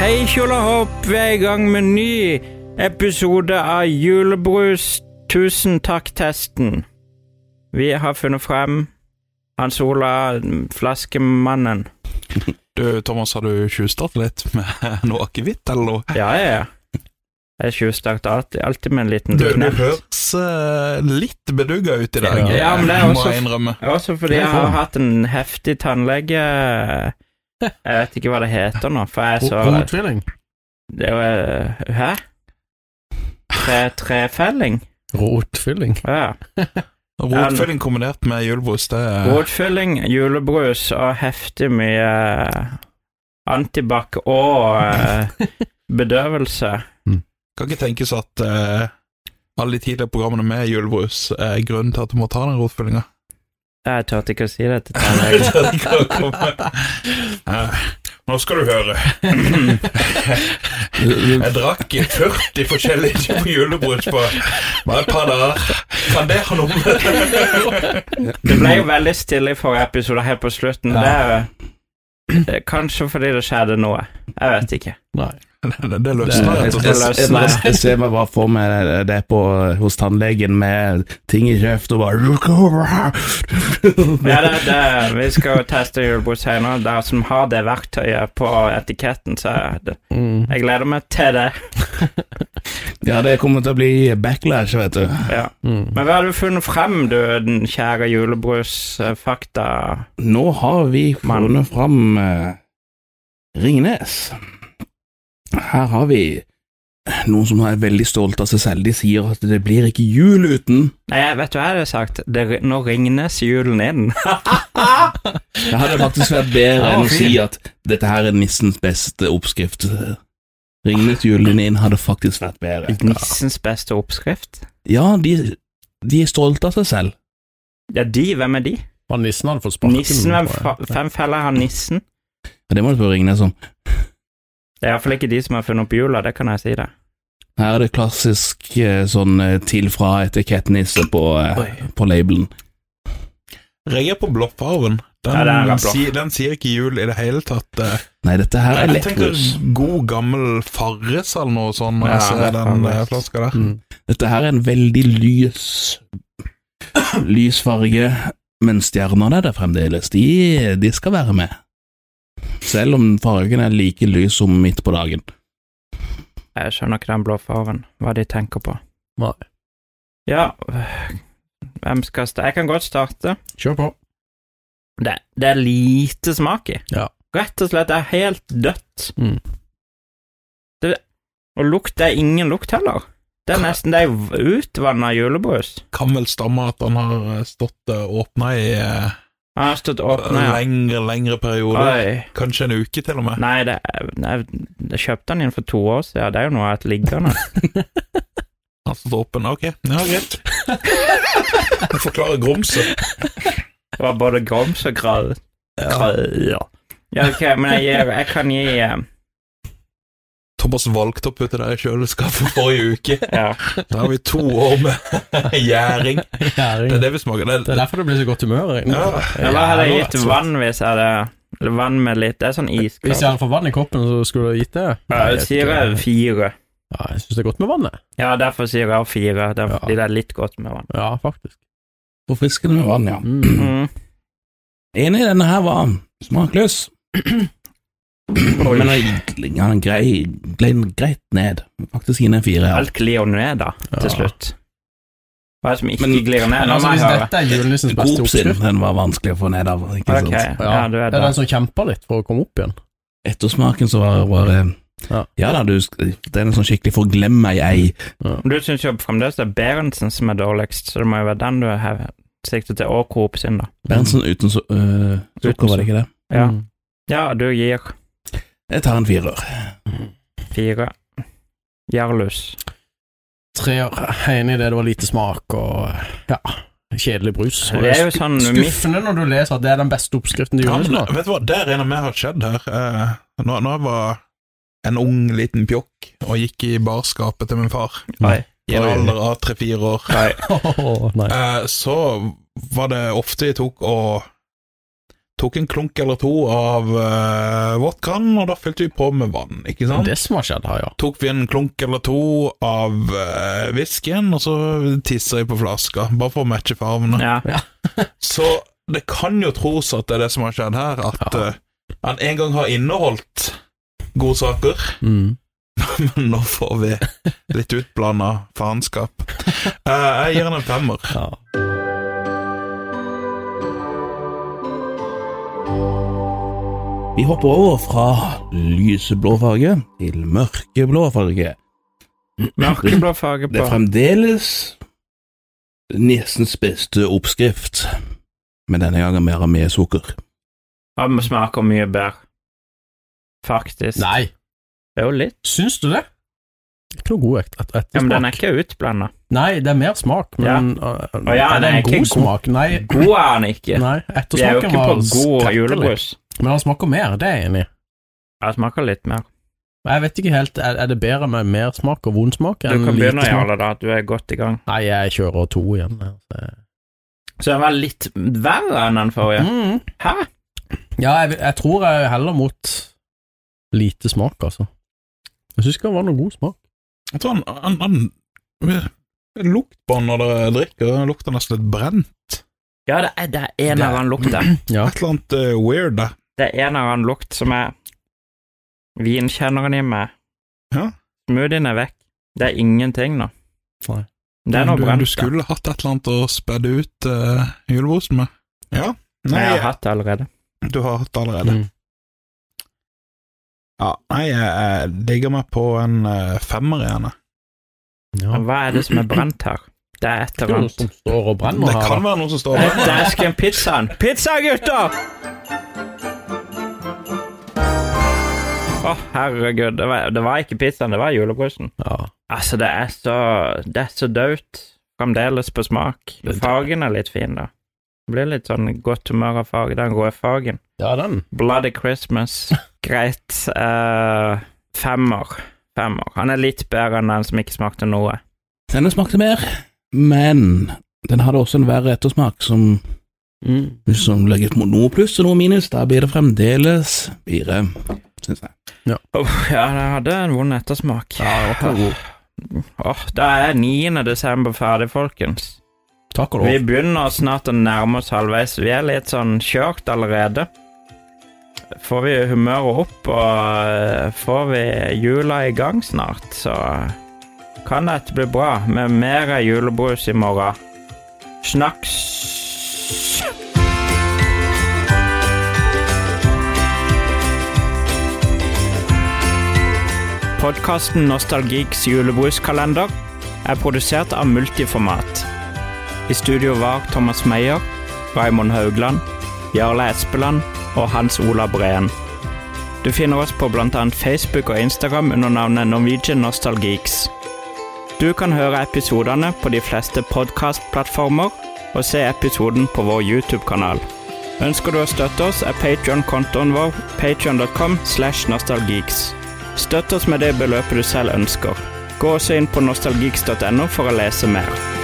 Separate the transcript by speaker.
Speaker 1: Hei, Kjolahopp. Vi er i gang med en ny episode av Julebrus. Tusen takk, testen. Vi har funnet frem Hans Ola Flaskemannen.
Speaker 2: Du, Thomas, har du tjuvstartet litt med noe akevitt, eller noe?
Speaker 1: Ja, ja, ja. Jeg tjuvstarter alltid, alltid med en liten
Speaker 2: Du, du
Speaker 1: knert.
Speaker 2: høres eh, litt bedugga ut i dag,
Speaker 1: Ja, ja, men det er
Speaker 2: må
Speaker 1: også-
Speaker 2: jeg innrømme.
Speaker 1: Også fordi jeg har hatt en heftig tannlege Jeg vet ikke hva det heter nå, for jeg er så
Speaker 3: Rotfilling.
Speaker 1: det var, Hæ? Tre, trefelling?
Speaker 3: Rotfylling.
Speaker 1: Ja.
Speaker 2: Rotfylling kombinert med julebrus, det
Speaker 1: Eh.
Speaker 2: er
Speaker 1: Rådfylling, julebrus og heftig mye eh, antibac og eh, bedøvelse.
Speaker 2: Kan ikke tenkes at eh, alle de tidligere programmene med julebrus er grunnen til at du må ta den rotfyllinga.
Speaker 1: Jeg turte ikke å si det til
Speaker 2: Jeg
Speaker 1: tannlegen.
Speaker 2: tør ikke å komme. Eh, Nå skal du høre.
Speaker 1: Mm.
Speaker 2: Jeg drakk i 40 forskjellige typer julebrus på bare et par dager. Kan det ha noe med
Speaker 1: Det ble jo veldig stille i forrige episode helt på slutten. Det er jo det er Kanskje fordi det skjedde noe. Jeg vet ikke.
Speaker 3: Nei.
Speaker 2: Det, det, det
Speaker 3: Det-
Speaker 2: løsner rett og
Speaker 1: det
Speaker 2: slett.
Speaker 1: løsner.
Speaker 4: Jeg,
Speaker 1: Nei.
Speaker 4: jeg, jeg ser meg bare for meg det på hos tannlegen med ting i kjeft og bare Look over
Speaker 1: Ja, det, det, vi skal jo teste julebrus senere. Det er som har det verktøyet på etiketten, så jeg,
Speaker 3: Mm.
Speaker 1: jeg gleder meg til det.
Speaker 4: Ja, det kommer til å bli backlash, vet du.
Speaker 1: Ja.
Speaker 3: Mm.
Speaker 1: Men hva har du funnet frem, du, den kjære eh, julebrusfakta?
Speaker 4: Nå har vi funnet fram eh, Ringnes. Her har vi noen som er veldig stolt av seg selv. De sier at det blir ikke jul uten.
Speaker 1: Nei, jeg vet du hva jeg hadde sagt? Det, nå ringnes julen inn.
Speaker 4: Det hadde faktisk vært bedre
Speaker 3: Ja,
Speaker 4: enn å
Speaker 3: fint.
Speaker 4: si at dette her er nissens beste oppskrift. Ringnes julen inn hadde faktisk vært bedre.
Speaker 1: Nissens beste oppskrift?
Speaker 4: Ja, de, de er stolte av seg selv.
Speaker 1: Ja, de, hvem er de?
Speaker 3: Og nissen hadde fått sparken.
Speaker 1: Nissen, hvem,
Speaker 3: tror jeg.
Speaker 1: fa- hvem feller har nissen?
Speaker 4: Og det må du spørre Ringnes om.
Speaker 1: Det er iallfall ikke de som har funnet opp jula, det kan jeg si det.
Speaker 4: Her er det klassisk eh, sånn eh, til fra etikettnisse på, eh, på labelen.
Speaker 2: Reager på blåfarven. Den,
Speaker 1: Ja, den er blå.
Speaker 2: si- den sier ikke jul i det hele tatt. eh.
Speaker 4: Nei, dette her er
Speaker 2: Jeg tenker
Speaker 4: lettbrus.
Speaker 2: god gammel Farris eller noe sånt når
Speaker 1: Ja,
Speaker 2: jeg ser den
Speaker 1: Farris.
Speaker 2: eh, flaska der.
Speaker 3: Mm.
Speaker 4: Dette her er en veldig lys lys farge, men stjernene er der fremdeles. De, de skal være med. Selv om fargen er like lys som midt på dagen.
Speaker 1: Jeg skjønner ikke den blå farven, hva de tenker på.
Speaker 3: Nei.
Speaker 1: Ja, øh, hvem skal starte? Jeg kan godt starte.
Speaker 3: Kjør på.
Speaker 1: Det, det er lite smak i.
Speaker 3: Ja.
Speaker 1: Rett og slett, det er helt dødt.
Speaker 3: Mm.
Speaker 1: Det, og lukt, det er ingen lukt heller. Det er nesten det er utvanna julebrus.
Speaker 2: Kan vel stamme at den har eh, stått eh, åpna i eh,
Speaker 1: Han har stått åpna, ja.
Speaker 2: lengre, lengre perioder.
Speaker 1: Oi.
Speaker 2: Kanskje en uke, til og med.
Speaker 1: Nei, det, nei, jeg kjøpte den inn for to år siden. Det er jo noe av et liggende.
Speaker 2: Han står åpen. Ok, ja, greit. Jeg forklarer grumset.
Speaker 1: Det var både grums og grøt. Ja. ja, ok, men jeg, gir, jeg kan gi eh,
Speaker 2: Thomas valgte å putte det i kjøleskapet forrige uke.
Speaker 1: ja.
Speaker 2: Da har vi to år med gjæring. Det er
Speaker 3: Gjæring.
Speaker 2: det vi smaker. Det,
Speaker 3: Det er derfor det blir så godt humør. egentlig.
Speaker 2: Ja.
Speaker 3: Det er
Speaker 1: Eller hadde jeg
Speaker 3: jævla
Speaker 1: gitt
Speaker 3: rett.
Speaker 1: vann hvis jeg hadde eller Vann med litt Det er sånn
Speaker 3: Hvis
Speaker 1: iskaldt.
Speaker 3: jeg hadde fått vann i koppen, så skulle du gitt det?
Speaker 1: Ja, jeg sier jeg fire.
Speaker 3: Ja, jeg syns det er godt med vannet.
Speaker 1: Ja, derfor sier jeg fire. Det er
Speaker 3: Ja.
Speaker 1: fordi det er litt godt med vann.
Speaker 3: Ja, faktisk.
Speaker 4: Forfriskende med vann, ja.
Speaker 3: Mm.
Speaker 1: Mm.
Speaker 4: Enig, denne her var smakløs. Men den han grei, glei greit ned. Faktisk inn i en fire. Ja.
Speaker 1: Alt glir jo ned, da,
Speaker 3: Ja.
Speaker 1: til slutt. Hva er det som ikke
Speaker 4: Men-
Speaker 1: glir ned?
Speaker 3: Men
Speaker 1: Nå
Speaker 3: altså,
Speaker 1: må jeg
Speaker 3: hvis
Speaker 1: høre.
Speaker 3: dette er julenissens beste
Speaker 4: Coop sin,
Speaker 3: oppskrift
Speaker 4: den var vanskelig å få ned av. Ikke
Speaker 1: Ok,
Speaker 4: sant?
Speaker 1: ja, du er
Speaker 3: Det
Speaker 1: der.
Speaker 3: er den som kjemper litt for å komme opp igjen.
Speaker 4: Ettersmaken så var det bare ja.
Speaker 3: Ja.
Speaker 4: da, du, det er en sånn skikkelig forglem meg ei.
Speaker 1: Men Du syns jo fremdeles det er Berentsen som er dårligst, så det må jo være den du har siktet til, og Coop sin, da.
Speaker 4: Berntsen uten så, øh,
Speaker 1: Uten
Speaker 4: sukker, var det ikke det?
Speaker 1: Ja,
Speaker 3: Mm.
Speaker 1: ja du gir
Speaker 4: Jeg tar en firer.
Speaker 1: fire. Jarlus.
Speaker 3: Treer. Jeg er Enig i det, det var lite smak og ja, kjedelig brus. Og
Speaker 1: Det er jo
Speaker 3: sku-
Speaker 1: sånn midt
Speaker 3: skuffende når du leser at det er den beste oppskriften til
Speaker 2: Ja, men,
Speaker 3: julenissemat.
Speaker 2: vet du hva, det regner med har skjedd her. Eh, Når, når jeg var en ung, liten pjokk og gikk i barskapet til min far
Speaker 3: Nei.
Speaker 2: i en
Speaker 3: Oi.
Speaker 2: alder av tre-fire år,
Speaker 3: Åh, nei.
Speaker 2: eh, så var det ofte jeg tok og tok en klunk eller to av eh, vodkaen, og da fylte vi på med vann, ikke sant?
Speaker 3: Det som har skjedd her, ja.
Speaker 2: Tok vi en klunk eller to av eh, whiskyen, og så tisser jeg på flaska, bare for å matche farvene.
Speaker 1: Ja.
Speaker 2: Så det kan jo tros at det er det som har skjedd her, at
Speaker 3: Ja.
Speaker 2: eh, han en gang har inneholdt godsaker,
Speaker 3: Mm.
Speaker 2: men nå får vi litt utblanda faenskap. Eh, jeg gir han en femmer.
Speaker 3: ja.
Speaker 4: Vi hopper over fra lyseblå farge til mørkeblå farge.
Speaker 1: Mørkeblå farge
Speaker 4: Det er
Speaker 1: på.
Speaker 4: fremdeles nissens beste oppskrift, men denne gangen mer med sukker.
Speaker 1: Ja, men smaker mye bedre. Faktisk.
Speaker 3: Nei,
Speaker 1: Det er jo litt.
Speaker 3: syns du det? Ikke noe god et, et,
Speaker 1: Ja, men den er
Speaker 3: ettersmak.
Speaker 1: ikke utblanda.
Speaker 3: Nei, det er mer smak, men øh,
Speaker 1: Å ja, den
Speaker 3: er
Speaker 1: er
Speaker 3: det en
Speaker 1: ikke
Speaker 3: god
Speaker 1: god.
Speaker 3: smak? Nei,
Speaker 1: God er den ikke.
Speaker 3: nei
Speaker 1: Vi er jo ikke
Speaker 3: ettersmaken
Speaker 1: på
Speaker 3: var
Speaker 1: god
Speaker 3: skrekkelig.
Speaker 1: julebrus.
Speaker 3: Men den smaker mer, det er jeg enig i.
Speaker 1: Jeg smaker litt mer.
Speaker 3: Jeg vet ikke helt, er, er det bedre med mer smak og vond smak
Speaker 1: Du
Speaker 3: enn
Speaker 1: kan
Speaker 3: lite
Speaker 1: begynne,
Speaker 3: smak?
Speaker 1: Jarle, da. Du er godt i gang.
Speaker 3: Nei, jeg kjører to igjen. altså.
Speaker 1: Så den var litt verre enn den forrige.
Speaker 3: Mm.
Speaker 1: Hæ?
Speaker 3: Ja, jeg, vil- jeg tror jeg er heller mot lite smak, altså. Jeg syns ikke det var noe god smak.
Speaker 2: Jeg tror han, han, han Lukt på han når dere drikker, den lukter nesten litt brent.
Speaker 1: Ja, det er, det er en av den lukta.
Speaker 3: Ja.
Speaker 2: Et eller annet eh, weird der.
Speaker 1: Det er en av den lukt som er vinkjenneren i meg.
Speaker 2: Ja.
Speaker 1: Smoothien er vekk. Det er ingenting nå.
Speaker 3: Nei.
Speaker 1: Det er noe
Speaker 2: du,
Speaker 1: brent.
Speaker 2: du
Speaker 1: da.
Speaker 2: skulle hatt et eller annet å spedde ut uh, julebrosen med. Ja. Nei,
Speaker 1: Jeg har hatt det allerede.
Speaker 2: du har hatt det allerede.
Speaker 3: Mm.
Speaker 2: Ja, nei, jeg, jeg digger meg på en eh, femmer igjen. jeg.
Speaker 3: Ja.
Speaker 1: Men hva er det som er brent her? Det er et
Speaker 3: Det
Speaker 1: eller
Speaker 3: er noe
Speaker 1: annet.
Speaker 3: som står og brenner
Speaker 2: Det
Speaker 3: her.
Speaker 2: kan
Speaker 3: da.
Speaker 2: være noe som står der.
Speaker 1: Dæsken pizzaen. Pizza, gutter! Å, herregud. Det var, det var ikke pizzaen, det var julebrusen.
Speaker 3: Ja.
Speaker 1: Altså, det er så Det er så daut fremdeles på smak. Fargen er litt fin, da. Det blir litt sånn godt humør av farge. Den røde fargen.
Speaker 3: ja, den.
Speaker 1: Bloody Christmas. Greit. eh, femmer. Femmer. Han er litt bedre enn den som ikke smakte noe.
Speaker 4: Denne smakte mer, men den hadde også en verre ettersmak, som hvis man legger på noe pluss og noe minus, da blir det fremdeles fire, synes jeg.
Speaker 1: Åh, ja, det hadde en vond ettersmak.
Speaker 3: Ja, det var ikke noe god.
Speaker 1: Åh, da er 9. desember ferdig, folkens.
Speaker 3: Takk og
Speaker 1: Vi
Speaker 3: lov.
Speaker 1: begynner snart å nærme oss halvveis. Vi er litt sånn kjørt allerede. Får vi humøret opp, og eh, får vi jula i gang snart, så kan dette bli bra med mer julebrus i morgen. Snakks! Podkasten Nostalgiks julebruskalender er produsert av Multiformat. I studio var Thomas Meyer, Raimond Haugland, Jarle Espeland og Hans Ola Breen. Du finner oss på bl.a. Facebook og Instagram under navnet Norwegian Nostalgeeks. Du kan høre episodene på de fleste podkastplattformer og se episoden på vår YouTube-kanal. Ønsker du å støtte oss, er Patreon-kontoen vår patreon.com slash nostalgeeks. Støtt oss med det beløpet du selv ønsker. Gå også inn på nostalgeeks.no for å lese mer.